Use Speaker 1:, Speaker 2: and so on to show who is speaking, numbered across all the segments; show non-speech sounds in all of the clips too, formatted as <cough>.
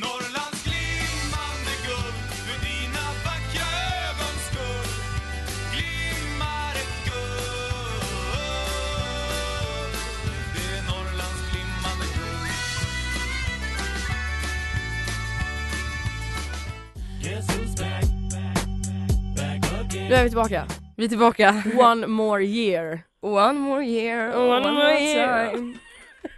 Speaker 1: Norrlands glimmande guld, för dina vackra ögons skull glimmar ett guld. Det är Norrlands glimmande guld.
Speaker 2: Nu är vi tillbaka.
Speaker 3: Vi är tillbaka.
Speaker 2: One more year.
Speaker 3: One more year, oh,
Speaker 2: One more year.
Speaker 3: time.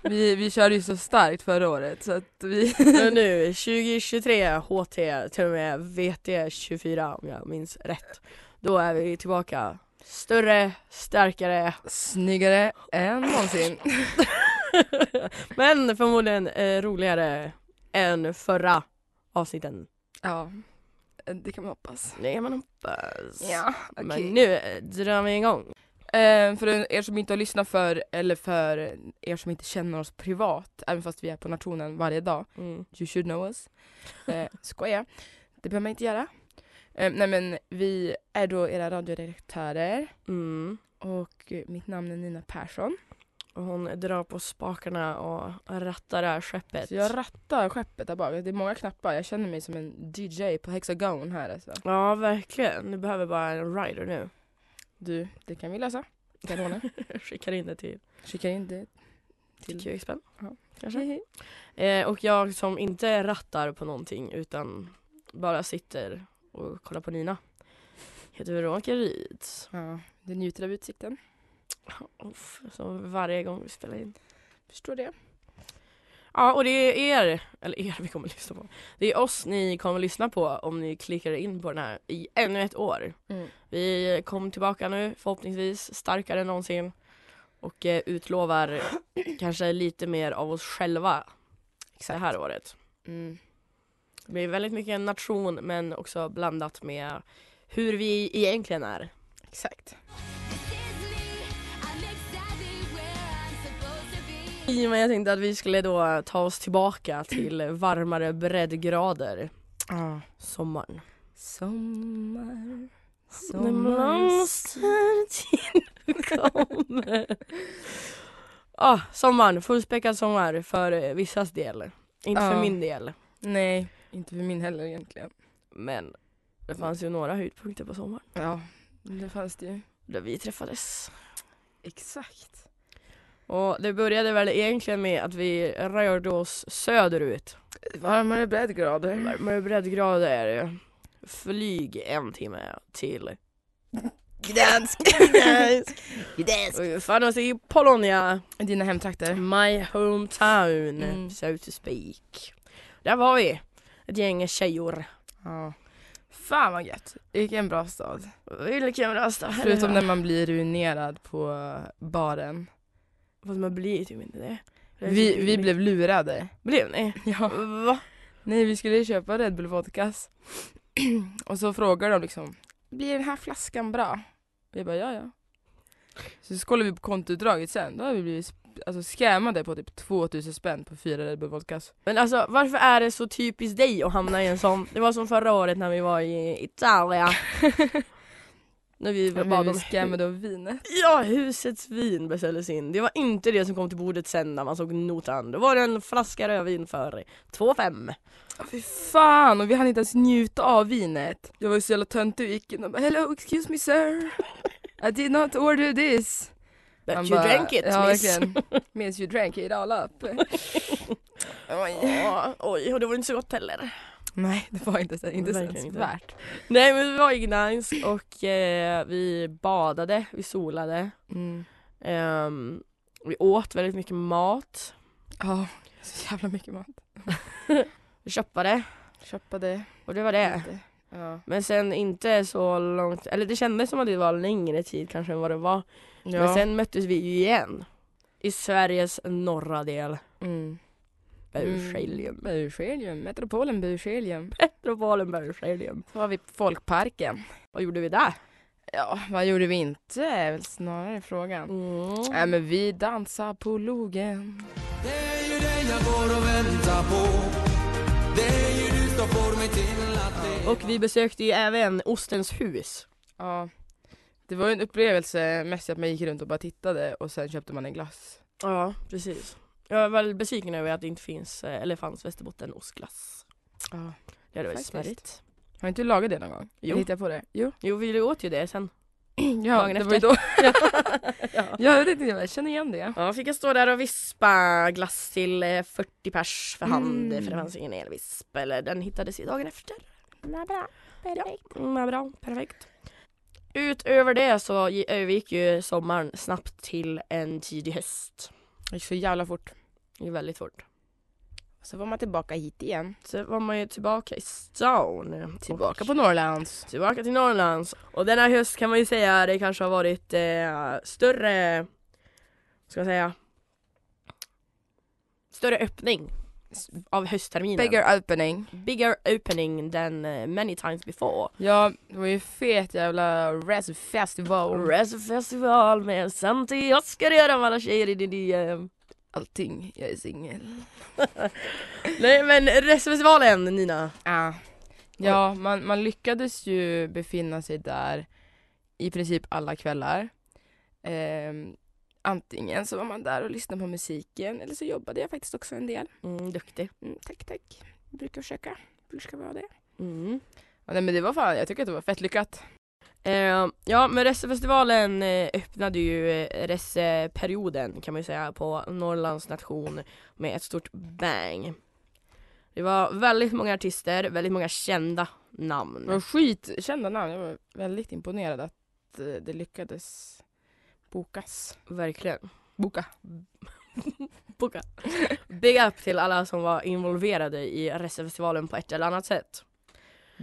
Speaker 3: Vi, vi körde ju så starkt förra året så att vi...
Speaker 2: <laughs> Men nu 2023 HT till och med VT24 om jag minns rätt. Då är vi tillbaka större,
Speaker 3: <laughs>
Speaker 2: starkare
Speaker 3: Snyggare än någonsin.
Speaker 2: men förmodligen eh, roligare än förra avsnitten.
Speaker 3: Ja, det kan man hoppas.
Speaker 2: Det kan man hoppas.
Speaker 3: Ah, okej.
Speaker 2: Men nu eh, drar vi igång.
Speaker 3: Eh, för er som inte har lyssnat för eller för er som inte känner oss privat, även fast vi är på nationen varje dag,
Speaker 2: Mm.
Speaker 3: you should know us. Eh,
Speaker 2: <laughs>
Speaker 3: skoja. Det behöver man inte göra. Eh, nej men vi är då era radioredaktörer
Speaker 2: Mm.
Speaker 3: och eh, mitt namn är Nina Persson.
Speaker 2: Och hon drar på spakarna och rattar det här skeppet.
Speaker 3: Så jag rattar skeppet där bak. Det är många knappar. Jag känner mig som en DJ på Hexagon här alltså.
Speaker 2: Ja, verkligen. Du behöver bara en rider nu.
Speaker 3: Du, det kan vi lösa. Kan ordna.
Speaker 2: <laughs> Skickar in det till
Speaker 3: Skicka in det.
Speaker 2: till QXPen.
Speaker 3: Ja,
Speaker 2: Kanske. Eh, och jag som inte rattar på någonting utan bara sitter och kollar på Nina heter Veronica Ryd.
Speaker 3: Ja, du njuter av utsikten.
Speaker 2: Uff, Som varje gång vi spelar in.
Speaker 3: Förstår det.
Speaker 2: Ja, och det är er, eller er vi kommer att lyssna på. Det är oss ni kommer att lyssna på om ni klickar in på den här i ännu ett år.
Speaker 3: Mm.
Speaker 2: Vi kom tillbaka nu förhoppningsvis starkare än någonsin och eh, utlovar kanske lite mer av oss själva det här året.
Speaker 3: Mm.
Speaker 2: Det blir väldigt mycket en nation men också blandat med hur vi egentligen är.
Speaker 3: Exakt.
Speaker 2: I och med jag tänkte att vi skulle då ta oss tillbaka till varmare breddgrader,
Speaker 3: Ja.
Speaker 2: sommaren. <laughs>
Speaker 3: Sommar.
Speaker 2: När blomstertid kommer. Ah, sommaren, fullspäckad sommar för eh, vissas del. Inte för
Speaker 3: Ja.
Speaker 2: min del.
Speaker 3: Nej, inte för min heller egentligen.
Speaker 2: Men det fanns ju några höjdpunkter på sommaren.
Speaker 3: Ja, det fanns det ju.
Speaker 2: Där vi träffades.
Speaker 3: Exakt.
Speaker 2: Och det började väl egentligen med att vi rörde oss söderut.
Speaker 3: Varmare breddgrader.
Speaker 2: Värmare breddgrader. Flyg en timme till. <laughs>
Speaker 3: Gdansk.
Speaker 2: Och vi fann oss i Polonia.
Speaker 3: Dina hemtrakter.
Speaker 2: My hometown.
Speaker 3: Mm.
Speaker 2: So to speak. Där var vi. Ett gäng tjejor.
Speaker 3: Ja. Fan vad gött. Vilken bra stad.
Speaker 2: Vilken bra stad.
Speaker 3: Förutom när man blir ruinerad på baren.
Speaker 2: Fast man blir typ inte det.
Speaker 3: Vi, vi blev lurade.
Speaker 2: Blev ni?
Speaker 3: Ja.
Speaker 2: Va?
Speaker 3: Nej, vi skulle köpa Red Bull Vodkas. <clears throat> Och så frågar de liksom, blir den här flaskan bra? Vi bara, ja ja. Så kollar vi på kontoutdraget sen, då har vi blivit sp- alltså, scammade på typ 2000 spänn på fyra Red Bull Vodkas.
Speaker 2: Men alltså varför är det så typiskt dig att hamna i en sån? Det var som förra året när vi var i
Speaker 3: <laughs>
Speaker 2: Italien. när vi
Speaker 3: Vi
Speaker 2: bad
Speaker 3: blev
Speaker 2: om
Speaker 3: scammade av vinet.
Speaker 2: Ja, husets vin beställdes in. Det var inte det som kom till bordet sen när man såg notan. Då var det en flaska rödvin för 2,5.
Speaker 3: Åh, Fy fan, och vi hann inte ens njuta av vinet. Jag var ju så jävla töntig och gick in och bara, hello excuse me sir. I did not order this.
Speaker 2: But
Speaker 3: Han
Speaker 2: you
Speaker 3: bara,
Speaker 2: drank it
Speaker 3: ja,
Speaker 2: miss. <laughs>
Speaker 3: Verkligen. <laughs> miss you drank it all up. Oj.
Speaker 2: Ja, oj, och det var inte så gott heller.
Speaker 3: <laughs> Nej det var inte, så- inte
Speaker 2: Verkligen
Speaker 3: ens
Speaker 2: inte.
Speaker 3: värt.
Speaker 2: Nej men vi var i Gdansk och eh, vi badade, vi solade.
Speaker 3: Mm.
Speaker 2: Ehm, vi åt väldigt mycket mat.
Speaker 3: Ja, så jävla mycket mat.
Speaker 2: Vi köpade
Speaker 3: Köpade
Speaker 2: och det var det.
Speaker 3: lite. Ja.
Speaker 2: Men sen inte så långt, eller det kändes som att det var längre tid kanske än vad det var. Men sen möttes vi ju igen. I Sveriges norra del,
Speaker 3: mm.
Speaker 2: Bergsjelium.
Speaker 3: Bergsjelium, metropolen Bergsjelium.
Speaker 2: Metropolen Bergsjelium.
Speaker 3: Så var vi på folkparken.
Speaker 2: Vad gjorde vi där?
Speaker 3: Ja, vad gjorde vi inte är väl snarare frågan.
Speaker 2: Mm.
Speaker 3: Nej men vi dansade på logen.
Speaker 1: Det är ju det det jag går och väntar på Det är ju du som får mig till att le
Speaker 2: Och vi besökte ju även Ostens hus.
Speaker 3: Ja. Det var ju en upplevelse mest att man gick runt och bara tittade och sen köpte man en glass.
Speaker 2: Ja, precis. Jag är väl besviken över att det inte finns, eh, eller fanns Västerbottenostglass.
Speaker 3: Ja.
Speaker 2: Det hade varit
Speaker 3: Faktiskt.
Speaker 2: smärrigt.
Speaker 3: Har inte du lagat det någon gång?
Speaker 2: Jo.
Speaker 3: Eller hittade jag på det? Jo.
Speaker 2: Jo, vi åt ju det sen.
Speaker 3: Ja,
Speaker 2: Dagen
Speaker 3: det
Speaker 2: efter.
Speaker 3: var ju då.
Speaker 2: Ja.
Speaker 3: Ja, jag vet inte, jag känner igen det.
Speaker 2: Ja, fick jag stå där och vispa glass till eh, 40 pers för hand
Speaker 3: Mm.
Speaker 2: för det fanns ingen elvisp. Eller den hittades ju dagen efter. Bra, bra. Perfekt. Ja, mm, bra, perfekt. Utöver det så gi- övergick ju sommaren snabbt till en tidig höst.
Speaker 3: Det gick så jävla fort.
Speaker 2: Det gick väldigt fort.
Speaker 3: Så var man tillbaka hit igen.
Speaker 2: Så var man ju tillbaka i stan.
Speaker 3: Tillbaka på Norrlands.
Speaker 2: Tillbaka till Norrlands. Och denna höst kan man ju säga det kanske har varit eh, större, vad ska man säga, större öppning s- av höstterminen.
Speaker 3: Bigger opening.
Speaker 2: Bigger opening than eh, many times before.
Speaker 3: Ja, det var ju fet jävla Res festival.
Speaker 2: Res festival med Santi Oskar gör de alla tjejer i din <laughs> DM.
Speaker 3: Allting, jag är singel.
Speaker 2: Nej men Resfestivalen Nina.
Speaker 3: Ah. Ja, man, man lyckades ju befinna sig där i princip alla kvällar. Ehm, antingen så var man där och lyssnade på musiken eller så jobbade jag faktiskt också en del.
Speaker 2: Mm, duktig.
Speaker 3: Mm, tack, tack. Jag brukar försöka. Jag brukar vara det.
Speaker 2: Mm.
Speaker 3: Ja, nej men det var fan, jag tycker att det var fett lyckat.
Speaker 2: Eh, ja men Ressefestivalen eh, öppnade ju eh, Resseperioden kan man ju säga på Norrlands nation med ett stort bang. Det var väldigt många artister, väldigt många kända namn.
Speaker 3: Det var skitkända namn. Jag var väldigt imponerad att eh, det lyckades bokas.
Speaker 2: Verkligen.
Speaker 3: Boka.
Speaker 2: Boka. Big up till alla som var involverade i Ressefestivalen på ett eller annat sätt.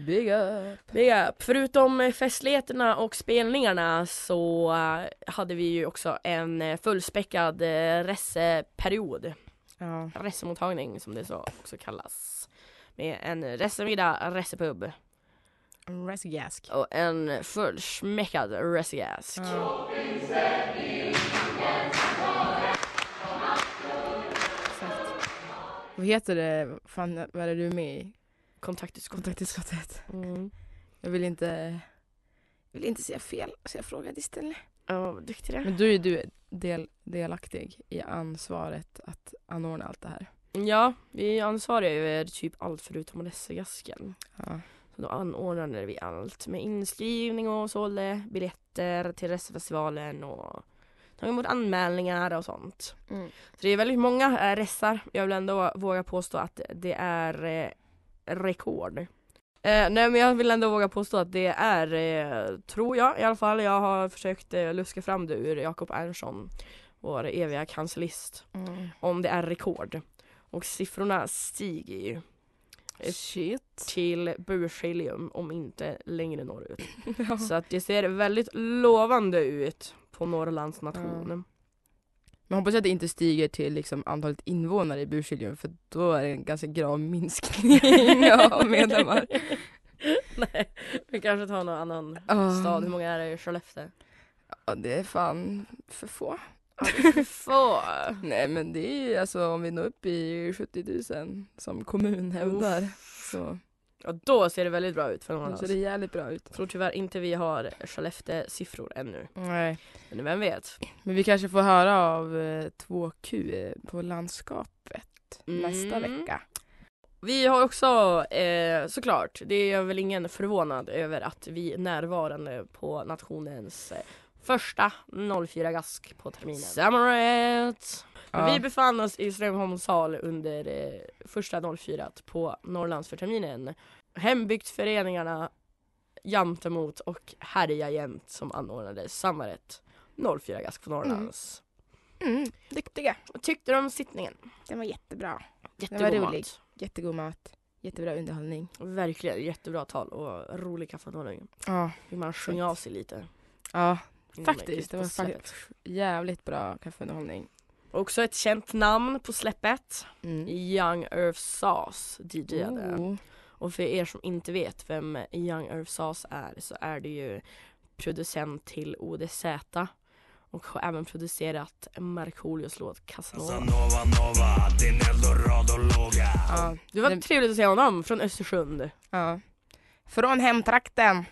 Speaker 3: Big up.
Speaker 2: Big up. Förutom eh, festligheterna och spelningarna så eh, hade vi ju också en eh, fullspäckad eh, Resseperiod.
Speaker 3: Ja.
Speaker 2: resemottagning som det så också kallas. Med en resemiddag, resepub
Speaker 3: Resgask.
Speaker 2: och en fullsmäckad resegask.
Speaker 3: Exakt. Vad heter det? Fan, vad är det du är med i?
Speaker 2: Kontaktutskott.
Speaker 3: Kontaktutskottet.
Speaker 2: Mm.
Speaker 3: Jag vill inte... Jag vill inte säga fel, så jag frågade istället.
Speaker 2: Ja, vad duktig du är.
Speaker 3: Men du är du är del, delaktig i ansvaret att anordna allt det här.
Speaker 2: Ja, vi är ansvariga över typ allt förutom resegasken.
Speaker 3: Ja.
Speaker 2: Så då anordnade vi allt med inskrivning och sålde biljetter till resefestivalen och tog emot anmälningar och sånt.
Speaker 3: Mm.
Speaker 2: Så det är väldigt många eh, ressar. Jag vill ändå våga påstå att det är eh, rekord. Eh, nej men jag vill ändå våga påstå att det är, eh, tror jag i alla fall, jag har försökt eh, luska fram det ur Jakob Ernstsson, vår eviga kanslist,
Speaker 3: Mm.
Speaker 2: om det är rekord. Och siffrorna stiger ju
Speaker 3: Shit.
Speaker 2: till Burskillium om inte längre norrut.
Speaker 3: Ja.
Speaker 2: Så att det ser väldigt lovande ut på Norrlands nation.
Speaker 3: <laughs> Man hoppas att det inte stiger till liksom antalet invånare i Burkiljum för då är det en ganska grav <laughs> minskning av medlemmar.
Speaker 2: <laughs> Nej, vi kanske tar någon annan
Speaker 3: Ja.
Speaker 2: stad. Hur många är det i Skellefteå?
Speaker 3: Ja, det är fan för få.
Speaker 2: <laughs> Få!
Speaker 3: Nej men det är ju alltså om vi når upp i 70 000 som kommun hävdar så,
Speaker 2: Ja, då ser det väldigt bra ut för
Speaker 3: så
Speaker 2: Norrland.
Speaker 3: ser det jävligt bra ut.
Speaker 2: Jag tror tyvärr inte vi har Skellefteå-siffror ännu.
Speaker 3: Nej.
Speaker 2: Men vem vet?
Speaker 3: Men vi kanske får höra av eh, 2Q på landskapet nästa
Speaker 2: Mm.
Speaker 3: vecka.
Speaker 2: Vi har också eh, såklart, det är jag väl ingen förvånad över att vi är närvarande på nationens eh, första 04 gask på terminen. Summerette!
Speaker 3: Ja.
Speaker 2: Vi befann oss i Strömholms hall under eh, första 04 på Norrlandsförterminen. Hembygdsföreningarna jämt emot och Härja jämt som anordnade Summerett 04 gask på Norrlands.
Speaker 3: Mm, duktiga,
Speaker 2: Vad tyckte du om sittningen?
Speaker 3: den var jättebra. var
Speaker 2: Jättegod
Speaker 3: rolig.
Speaker 2: mat.
Speaker 3: Jättegod mat, jättebra underhållning.
Speaker 2: Verkligen jättebra tal och rolig kaffenåling.
Speaker 3: Ja,
Speaker 2: Fick man sjunga av sig lite.
Speaker 3: ja
Speaker 2: innan man gick ut
Speaker 3: faktiskt. Det
Speaker 2: på
Speaker 3: var
Speaker 2: släppet.
Speaker 3: faktiskt jävligt bra kaffeunderhållning.
Speaker 2: Också ett känt namn på släppet.
Speaker 3: Mm.
Speaker 2: Young Earth Sauce DJade.
Speaker 3: Oh.
Speaker 2: Och för er som inte vet vem Young Earth Sauce är så är det ju producent till ODZ och har även producerat Markoolios låt Casanova.
Speaker 1: Casanova, Alltså, Nova, din eldorado-låga
Speaker 3: Ja.
Speaker 2: Det var
Speaker 3: Den-
Speaker 2: trevligt att se honom från Östersund.
Speaker 3: ja. Från hemtrakten.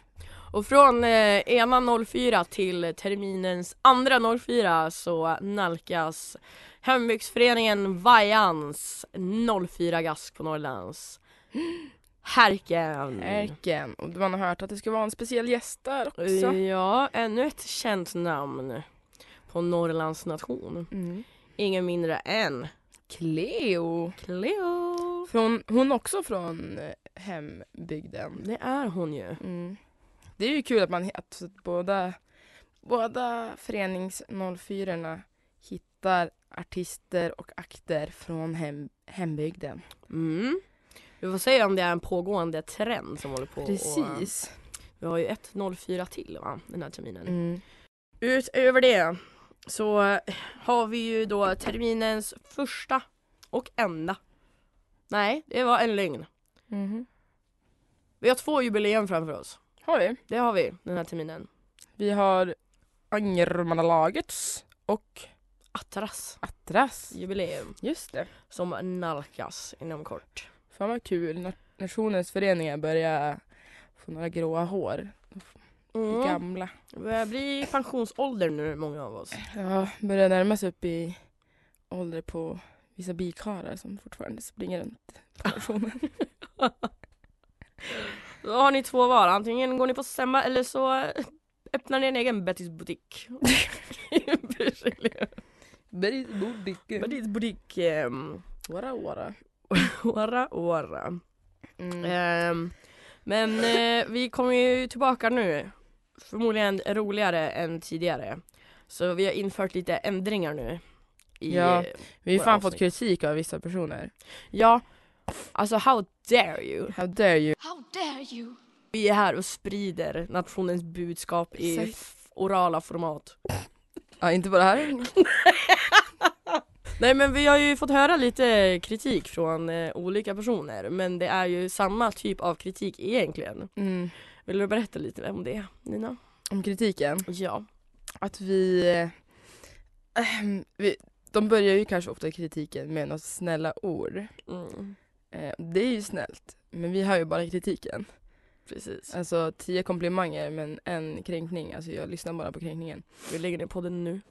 Speaker 2: Och från eh, ena 04 till terminens andra 04 så nalkas hembygdsföreningen Vajans 04 gask på Norrlands. Härken!
Speaker 3: Erken. Och man har hört att det ska vara en speciell gäst där också.
Speaker 2: Ja, ännu ett känt namn på Norrlands nation.
Speaker 3: Mm.
Speaker 2: Ingen mindre än
Speaker 3: Cleo.
Speaker 2: Cleo.
Speaker 3: Från, hon också från eh, hembygden.
Speaker 2: Det är hon ju.
Speaker 3: Mm. Det är ju kul att, man, att båda, båda förenings 04 hittar artister och akter från hem, hembygden.
Speaker 2: Mm. Vi får se om det är en pågående trend som håller på Och,
Speaker 3: Precis.
Speaker 2: vi har ju ett 04 till va, den här terminen.
Speaker 3: Mm.
Speaker 2: Utöver det så har vi ju då terminens första och enda. Nej, det var en lögn.
Speaker 3: Mhm.
Speaker 2: Vi har två jubileum framför oss.
Speaker 3: Har vi.
Speaker 2: Det har vi den här terminen.
Speaker 3: Vi har Angermanalagets och
Speaker 2: Atras
Speaker 3: Atras.
Speaker 2: jubileum
Speaker 3: Just det.
Speaker 2: som nalkas inom kort.
Speaker 3: Fan vad kul. Na- Nationens föreningar börjar få några gråa hår.
Speaker 2: Mm.
Speaker 3: Gamla.
Speaker 2: Det börjar bli pensionsålder nu många av oss.
Speaker 3: Ja, börjar närma sig upp i ålder på vissa bikarar som fortfarande springer runt på nationen.
Speaker 2: Då har ni två val. Antingen går ni på Semma eller så eh, öppnar ni en egen Bettys
Speaker 3: <laughs>
Speaker 2: butik.
Speaker 3: Bergs bodicke.
Speaker 2: Bettys butik. ehm,
Speaker 3: Åra <laughs> åra.
Speaker 2: Åra, åra.
Speaker 3: Mm.
Speaker 2: Ehm, men eh, vi kommer ju tillbaka nu. Förmodligen roligare än tidigare. Så vi har infört lite ändringar nu. I,
Speaker 3: Ja. <laughs> Vi har ju
Speaker 2: våra
Speaker 3: fan fått
Speaker 2: avsnitt.
Speaker 3: kritik av vissa personer.
Speaker 2: ja. Alltså how dare you?
Speaker 3: How dare you?
Speaker 4: How dare you?
Speaker 2: Vi är här och sprider nationens budskap i
Speaker 3: Exakt.
Speaker 2: f- orala format.
Speaker 3: Ja, inte
Speaker 2: <laughs>
Speaker 3: bara här.
Speaker 2: Nej men vi har ju fått höra lite kritik från eh, olika personer men det är ju samma typ av kritik egentligen.
Speaker 3: Mm.
Speaker 2: Vill du berätta lite om det Nina?
Speaker 3: Om kritiken.
Speaker 2: Ja.
Speaker 3: att vi, eh, <clears throat> vi de börjar ju kanske ofta kritiken med något snälla ord.
Speaker 2: Mm.
Speaker 3: Eh, det är ju snällt, men vi hör ju bara kritiken.
Speaker 2: Precis.
Speaker 3: Alltså tio komplimanger men en kränkning, alltså jag lyssnar bara på kränkningen.
Speaker 2: Vi lägger ner podden nu.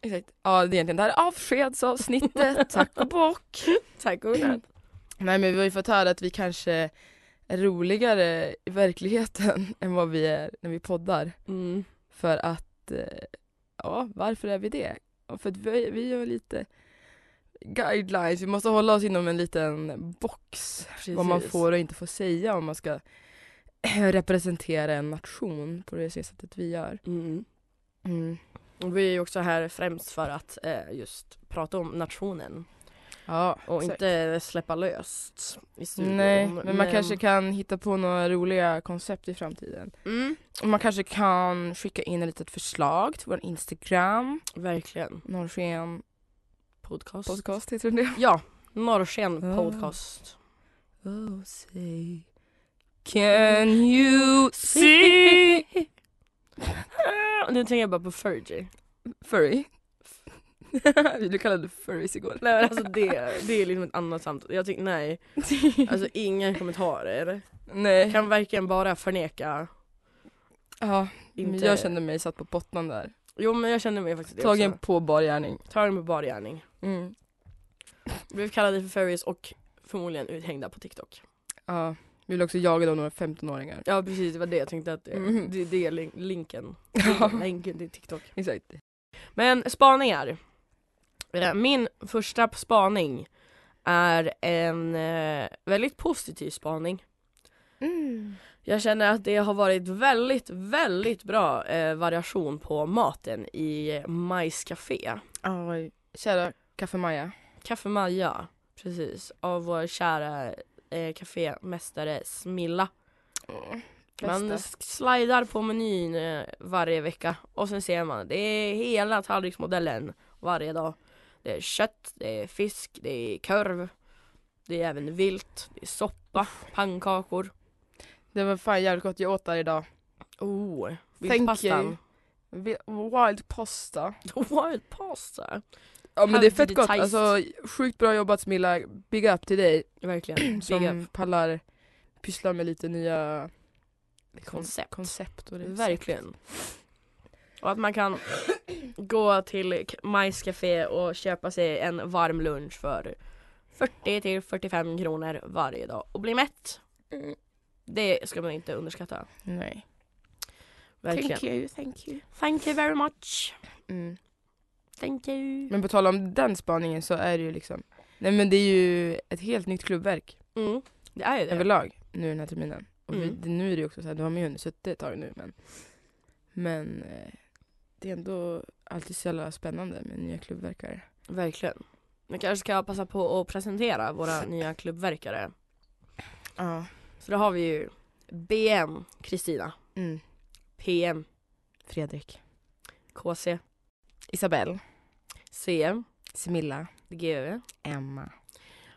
Speaker 3: Exakt. Ja, det är egentligen det här är avskedsavsnittet, tack och bock.
Speaker 2: <laughs> Tack och godnatt.
Speaker 3: <laughs> Nej men vi har ju fått höra att vi kanske är roligare i verkligheten <laughs> än vad vi är när vi poddar.
Speaker 2: Mm.
Speaker 3: För att, eh, ja varför är vi det? Ja, För att vi, vi gör lite guidelines, vi måste hålla oss inom en liten box. Vad man får och inte får säga om man ska <clears throat> representera en nation på det sättet vi gör.
Speaker 2: Mm. Och vi är ju också här främst för att eh, just prata om nationen
Speaker 3: Ja,
Speaker 2: och
Speaker 3: exakt.
Speaker 2: inte släppa löst i studion.
Speaker 3: Nej, men man kanske kan hitta på några roliga koncept i framtiden.
Speaker 2: Mm,
Speaker 3: Och Man kanske kan skicka in ett litet förslag till vår Instagram,
Speaker 2: verkligen.
Speaker 3: Norrsken
Speaker 2: Podcast.
Speaker 3: podcast heter den det.
Speaker 2: Ja, Norrsken
Speaker 3: Ah.
Speaker 2: podcast.
Speaker 3: Oh, say, can you see?
Speaker 2: Ah, Nu tänker jag bara på Fergie.
Speaker 3: Furry. <laughs> du kallade furries igår.
Speaker 2: Nej men alltså det, det är liksom ett annat samtal. Jag tycker nej, <laughs> alltså inga kommentarer.
Speaker 3: Nej.
Speaker 2: Kan verkligen bara förneka.
Speaker 3: Ja, men
Speaker 2: Inte...
Speaker 3: jag kände mig satt på botten där.
Speaker 2: Jo men jag kände mig faktiskt det
Speaker 3: Tagen
Speaker 2: också.
Speaker 3: på bar gärning.
Speaker 2: Tagen på bar gärning.
Speaker 3: Mm.
Speaker 2: Blev kallade för furries och förmodligen uthängda på TikTok.
Speaker 3: Ja, vi vill också jaga de några 15-åringar.
Speaker 2: Ja precis, det var det jag tänkte att det,
Speaker 3: Mhm.
Speaker 2: det, det är lin- linken.
Speaker 3: Ja.
Speaker 2: Länken till TikTok.
Speaker 3: Exakt.
Speaker 2: Men spaningar. Eh, Min första spaning är en eh, väldigt positiv spaning. Jag känner att det har varit väldigt, väldigt bra eh, variation på maten i Majs Café.
Speaker 3: Oj. Kära Kaffemaja.
Speaker 2: Kaffe Maja, precis, av vår kära eh, kafémästare Smilla. Man
Speaker 3: Bästa.
Speaker 2: sk- slidar på menyn eh, varje vecka och sen ser man det är hela tallriksmodellen varje dag. Det är kött, det är fisk, det är korv, det är även vilt, det är soppa, pannkakor.
Speaker 3: Det var fan jävligt gott jag åt där idag.
Speaker 2: Oh,
Speaker 3: Thank
Speaker 2: <laughs> viltpastan.
Speaker 3: you. Vi- Wild pasta.
Speaker 2: Wild pasta.
Speaker 3: Ja men det
Speaker 2: Hade
Speaker 3: är fett
Speaker 2: det
Speaker 3: gott,
Speaker 2: tajt.
Speaker 3: alltså sjukt bra jobbat Smilla, big up till dig
Speaker 2: Verkligen.
Speaker 3: <clears throat> som
Speaker 2: Big up.
Speaker 3: pallar pyssla med lite nya
Speaker 2: Koncept.
Speaker 3: koncept och recept.
Speaker 2: Verkligen. Och att man kan <clears throat> gå till K- Majs Café och köpa sig en varm lunch för 40 till 45 kronor varje dag och bli mätt. Det ska man inte underskatta.
Speaker 3: Mm. Nej.
Speaker 2: Verkligen.
Speaker 3: Thank you, thank you.
Speaker 2: Thank you very much.
Speaker 3: Mm.
Speaker 2: Thank you.
Speaker 3: Men på tal om den spaningen så är det ju liksom Nej men det är ju ett helt nytt klubbverk
Speaker 2: Mm. Det är ju det.
Speaker 3: överlag nu den här terminen. Och vi,
Speaker 2: Mm.
Speaker 3: det, nu är det ju också så här, då har man ju hunnit suttit ett tag nu men Men eh, det är ändå alltid så jävla spännande med nya klubbverkare.
Speaker 2: Verkligen. Vi kanske ska passa på att presentera våra nya klubbverkare.
Speaker 3: Ja.
Speaker 2: Så då har vi ju BM Kristina,
Speaker 3: Mm.
Speaker 2: PM
Speaker 3: Fredrik.
Speaker 2: KC,
Speaker 3: Isabelle.
Speaker 2: CM
Speaker 3: Smilla.
Speaker 2: GV.
Speaker 3: Emma.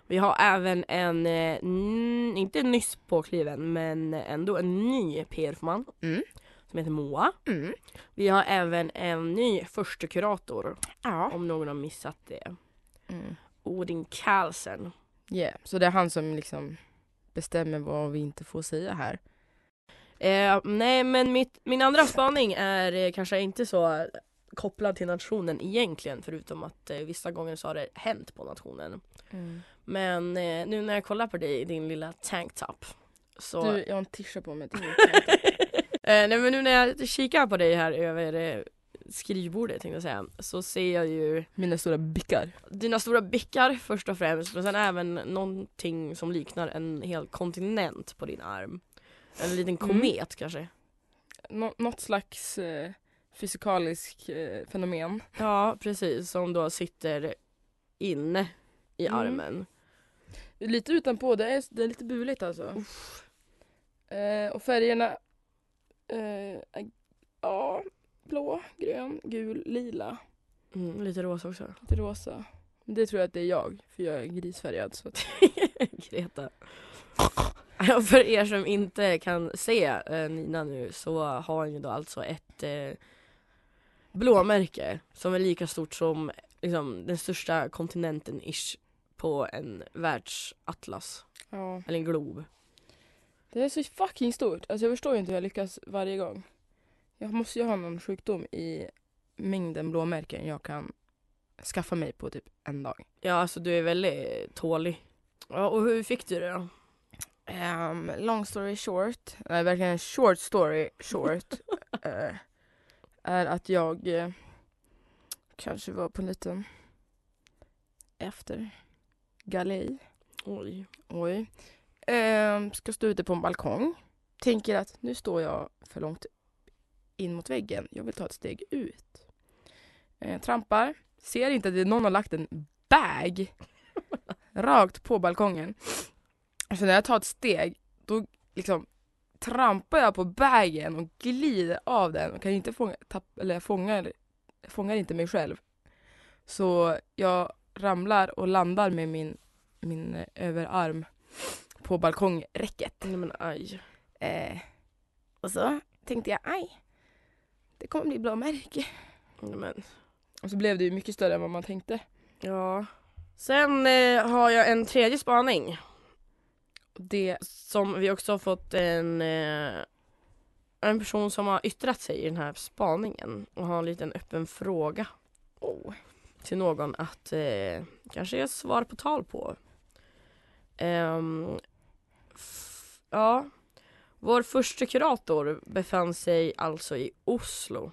Speaker 2: Vi har även en, eh, n- inte nyss påkliven, men ändå en ny PR-man
Speaker 3: Mm.
Speaker 2: som heter Moa.
Speaker 3: Mm.
Speaker 2: Vi har även en ny första kurator
Speaker 3: Ja.
Speaker 2: om någon har missat det.
Speaker 3: Mm.
Speaker 2: Odin Carlsen.
Speaker 3: Yeah. Så det är han som liksom bestämmer vad vi inte får säga här.
Speaker 2: Eh, nej men mitt, min andra spaning är eh, kanske inte så kopplad till nationen egentligen förutom att eh, vissa gånger så har det hänt på nationen. Men eh, nu när jag kollar på dig i din lilla tanktop så...
Speaker 3: Du, jag har en tisha på mig. till.
Speaker 2: <laughs> Eh, nej men nu när jag kikar på dig här över eh, skrivbordet tänkte jag säga så ser jag ju
Speaker 3: Mina stora bickar.
Speaker 2: dina stora bickar först och främst men sen även någonting som liknar en hel kontinent på din arm. En liten
Speaker 3: Mm.
Speaker 2: komet kanske.
Speaker 3: Nå- något slags eh, fysikalisk eh, fenomen.
Speaker 2: Ja precis, som då sitter inne i
Speaker 3: Mm.
Speaker 2: armen.
Speaker 3: Lite utanpå, det är, det är lite buligt alltså. Eh, och färgerna eh, är, ja, blå, grön, gul, lila,
Speaker 2: Mm, lite rosa också.
Speaker 3: lite rosa. Det tror jag att det är jag, för jag är grisfärgad. Så att,
Speaker 2: <laughs> Greta. Ja, För er som inte kan se eh, Nina nu så har hon ju då alltså ett eh, blåmärke som är lika stort som liksom, den största kontinenten ish på en världsatlas,
Speaker 3: ja.
Speaker 2: eller en glob.
Speaker 3: Det är så fucking stort. Alltså jag förstår ju inte hur jag lyckas varje gång. Jag måste ju ha någon sjukdom i mängden blåmärken jag kan skaffa mig på typ en dag.
Speaker 2: Ja alltså du är väldigt tålig. Ja, och hur fick du det då?
Speaker 3: Um, long story short, nej verkligen en short story short, eh, är att jag eh, kanske var på en liten efter galej.
Speaker 2: Oj.
Speaker 3: Oj. Ehm, ska stå ute på en balkong. Tänker att nu står jag för långt in mot väggen. Jag vill ta ett steg ut. Ehm, trampar. Ser inte att det- någon har lagt en bag rakt på balkongen. Så när jag tar ett steg då liksom trampar jag på bagen och glider av den och kan inte fånga, tapp, eller jag fångar, jag fångar inte mig själv. Så jag ramlar och landar med min min eh, överarm på balkongräcket.
Speaker 2: Nej men aj.
Speaker 3: Eh, och så tänkte jag, aj, det kommer bli blåmärke.
Speaker 2: Nej, men.
Speaker 3: Och så blev det ju mycket större än vad man tänkte.
Speaker 2: Ja. Sen eh, har jag en tredje spaning.
Speaker 3: Det,
Speaker 2: som vi också har fått en, eh, en person som har yttrat sig i den här spaningen och har en liten öppen fråga
Speaker 3: oh,
Speaker 2: till någon att eh, kanske ge svar på tal på. Ehm, f- ja, vår första kurator befann sig alltså i Oslo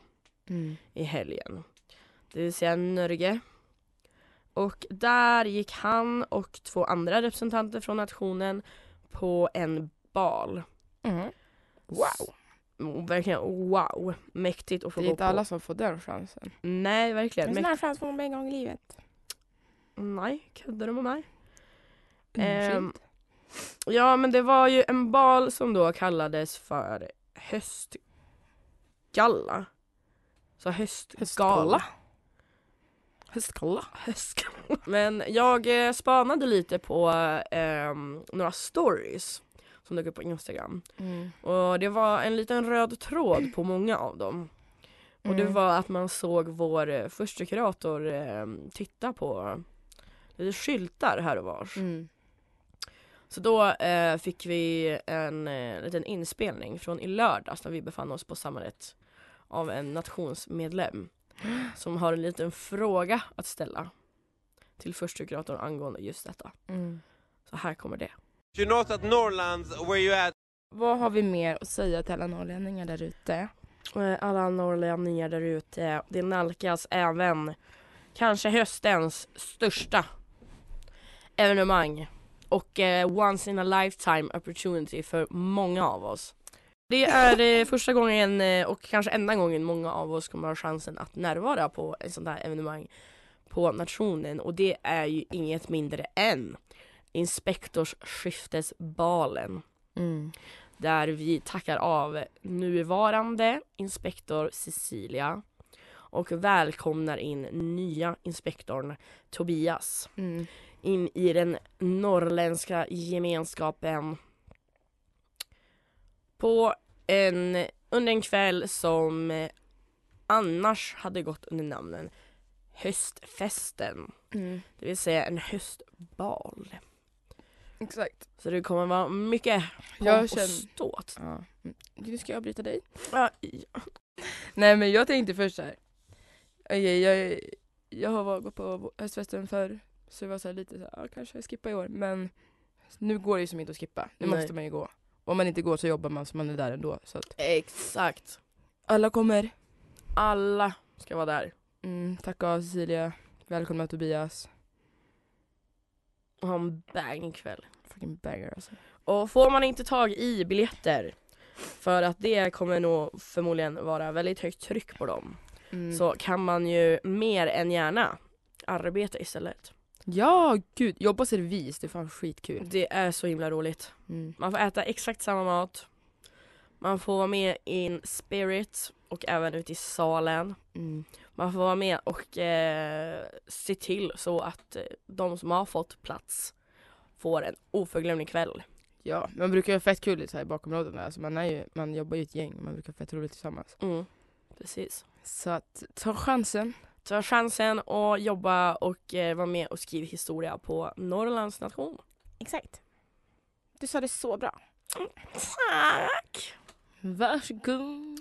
Speaker 2: i helgen. Det vill säga Norge. Och där gick han och två andra representanter från nationen på en bal.
Speaker 3: Mhm. wow.
Speaker 2: Mm, Verkligen wow, mäktigt att få
Speaker 3: Det är
Speaker 2: gå
Speaker 3: inte
Speaker 2: på.
Speaker 3: alla som får den chansen.
Speaker 2: Nej, verkligen.
Speaker 3: En sån
Speaker 2: Mäkt...
Speaker 3: här chans får man bara en gång i livet.
Speaker 2: Nej, kunde de med mig?
Speaker 3: Mm,
Speaker 2: Ehm,
Speaker 3: fint.
Speaker 2: Ja, men det var ju en bal som då kallades för höstgalla. Så höstgala.
Speaker 3: Höstgala. Höstkolla. <laughs>
Speaker 2: Höstgalla. Men jag eh, spanade lite på ehm, några stories som
Speaker 3: Mm.
Speaker 2: dök upp på Instagram. Och det var en liten röd tråd på många av dem. Och det
Speaker 3: Mm.
Speaker 2: var att man såg vår eh, första kurator eh, titta på lite skyltar här och vars.
Speaker 4: Mm.
Speaker 2: Så då eh, fick vi en eh, liten inspelning från i lördags när vi befann oss på samhället av en nationsmedlem som har en liten fråga att ställa till första kuratorn angående just detta.
Speaker 3: Mm.
Speaker 2: Så här kommer det.
Speaker 1: You know that Norrlands, where you at?
Speaker 3: Vad har vi mer att säga till alla norrlänningar där ute?
Speaker 2: Eh, alla norrlänningar där ute, det nalkas även kanske höstens största evenemang och eh, once in a lifetime opportunity för många av oss. Det är eh, första gången eh, och kanske enda gången många av oss kommer ha chansen att närvara på ett sånt här evenemang på nationen och det är ju inget mindre än inspektorsskiftesbalen
Speaker 4: Mm.
Speaker 2: där vi tackar av nuvarande inspektor Cecilia och välkomnar in nya inspektorn Tobias
Speaker 4: Mm.
Speaker 2: in i den norrländska gemenskapen på en, under en kväll som eh, annars hade gått under namnen Höstfesten,
Speaker 4: Mm.
Speaker 2: det vill säga en höstbal.
Speaker 3: Exakt.
Speaker 2: Så det kommer vara mycket
Speaker 3: Jag
Speaker 2: pomp och
Speaker 3: känner...
Speaker 2: ståt.
Speaker 3: Ja. Mm. Nu ska jag bryta dig.
Speaker 2: Ja,
Speaker 3: Nej men jag tänkte först såhär, okej jag, jag har var- gått på höstfesten förr, så det var så här lite såhär, ah, kanske jag skippar i år, men nu går det ju som inte att skippa, nu
Speaker 2: Nej.
Speaker 3: måste man ju gå. Om man inte går så jobbar man så man är där ändå. Så att
Speaker 2: Exakt.
Speaker 3: alla kommer.
Speaker 2: Alla ska vara där
Speaker 3: Mm, tacka av Cecilia, välkomna Tobias.
Speaker 2: och ha en bangkväll.
Speaker 3: Fucking banger alltså.
Speaker 2: Och får man inte tag i biljetter, för att det kommer nog förmodligen vara väldigt högt tryck på dem,
Speaker 3: Mm.
Speaker 2: så kan man ju mer än gärna arbeta istället.
Speaker 3: Ja gud, jobba servis, det är fan skitkul.
Speaker 2: Det är så himla roligt.
Speaker 3: Mm.
Speaker 2: Man får äta exakt samma mat, man får vara med in spirit och även ute i salen.
Speaker 3: Mm.
Speaker 2: Man får vara med och eh, se till så att eh, de som har fått plats får en oförglömlig kväll.
Speaker 3: Ja, man brukar ju ha fett kul så här i bakområdena, alltså man, är ju, man jobbar ju ett gäng, man brukar ha fett roligt tillsammans.
Speaker 2: Mm, precis.
Speaker 3: Så att, ta chansen.
Speaker 2: Ta chansen och jobba och eh, vara med och skriva historia på Norrlands nation.
Speaker 4: Exakt. Du sa det så bra.
Speaker 2: Tack!
Speaker 3: Varsågod.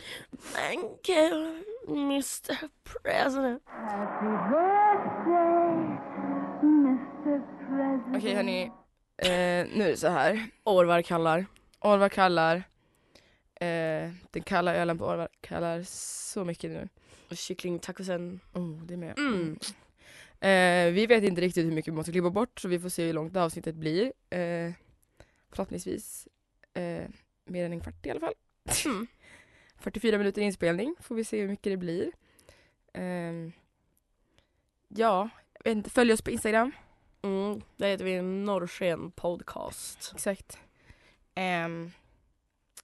Speaker 2: Thank you, Mr President.
Speaker 3: Okej hörni, eh, nu är det så här.
Speaker 2: Orvar kallar.
Speaker 3: Orvar kallar, eh, den kalla ölen på Orvar kallar så mycket nu.
Speaker 2: Och kycklingtacosen.
Speaker 3: Oh, det är med.
Speaker 2: Mm.
Speaker 3: Eh, vi vet inte riktigt hur mycket vi måste klippa bort så vi får se hur långt det här avsnittet blir. Eh, förhoppningsvis eh, mer än en kvart i alla fall. <laughs>
Speaker 2: Mm.
Speaker 3: 44 minuter inspelning, får vi se hur mycket det blir. Ehm, ja, jag vet inte, följ oss på Instagram.
Speaker 2: Mm, där heter vi Norrsken Podcast.
Speaker 3: Exakt. Ehm,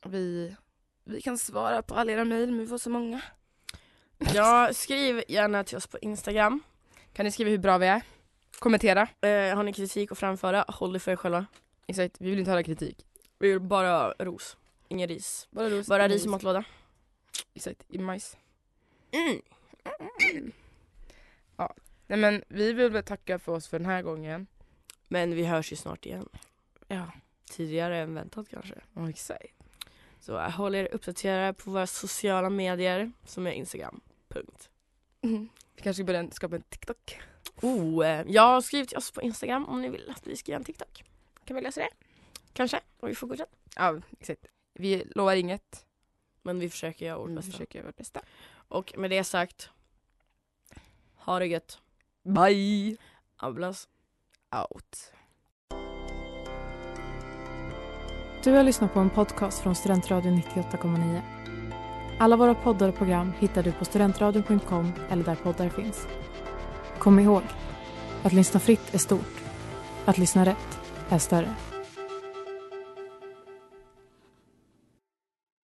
Speaker 3: vi, vi kan svara på alla era mejl, men vi får så många.
Speaker 2: Ja, skriv gärna till oss på Instagram.
Speaker 3: Kan ni skriva hur bra vi är? Kommentera.
Speaker 2: Eh, har ni kritik att framföra, håll det för er själva.
Speaker 3: Exakt, vi vill inte höra kritik.
Speaker 2: Vi vill bara ros, ingen ris.
Speaker 3: Bara ros.
Speaker 2: Bara ris i matlåda.
Speaker 3: Exakt, i majs.
Speaker 2: Mm.
Speaker 3: Nej men vi vill väl tacka för oss för den här gången.
Speaker 2: Men vi hörs ju snart igen.
Speaker 3: Ja.
Speaker 2: Tidigare än väntat kanske.
Speaker 3: Oh, exakt.
Speaker 2: Så jag håller er uppdaterade på våra sociala medier som är Instagram. Punkt.
Speaker 3: Vi kanske ska börja skapa en TikTok.
Speaker 2: Oh, eh, jag har skrivit till oss på Instagram om ni vill att vi ska göra en TikTok.
Speaker 3: Kan vi lösa det?
Speaker 2: Kanske, om vi får godkänt.
Speaker 3: Ja, exakt. Vi lovar inget.
Speaker 2: Men Mm, vi försöker göra vårt
Speaker 3: Vi
Speaker 2: bästa.
Speaker 3: försöker göra vårt bästa.
Speaker 2: Och med det sagt, ha det gött.
Speaker 3: Bye!
Speaker 2: Ablas.
Speaker 3: Out.
Speaker 5: Du har lyssnat på en podcast från Studentradion 98,9. Alla våra poddar och program hittar du på studentradion.com eller där poddar finns. Kom ihåg, att lyssna fritt är stort. Att lyssna rätt är större.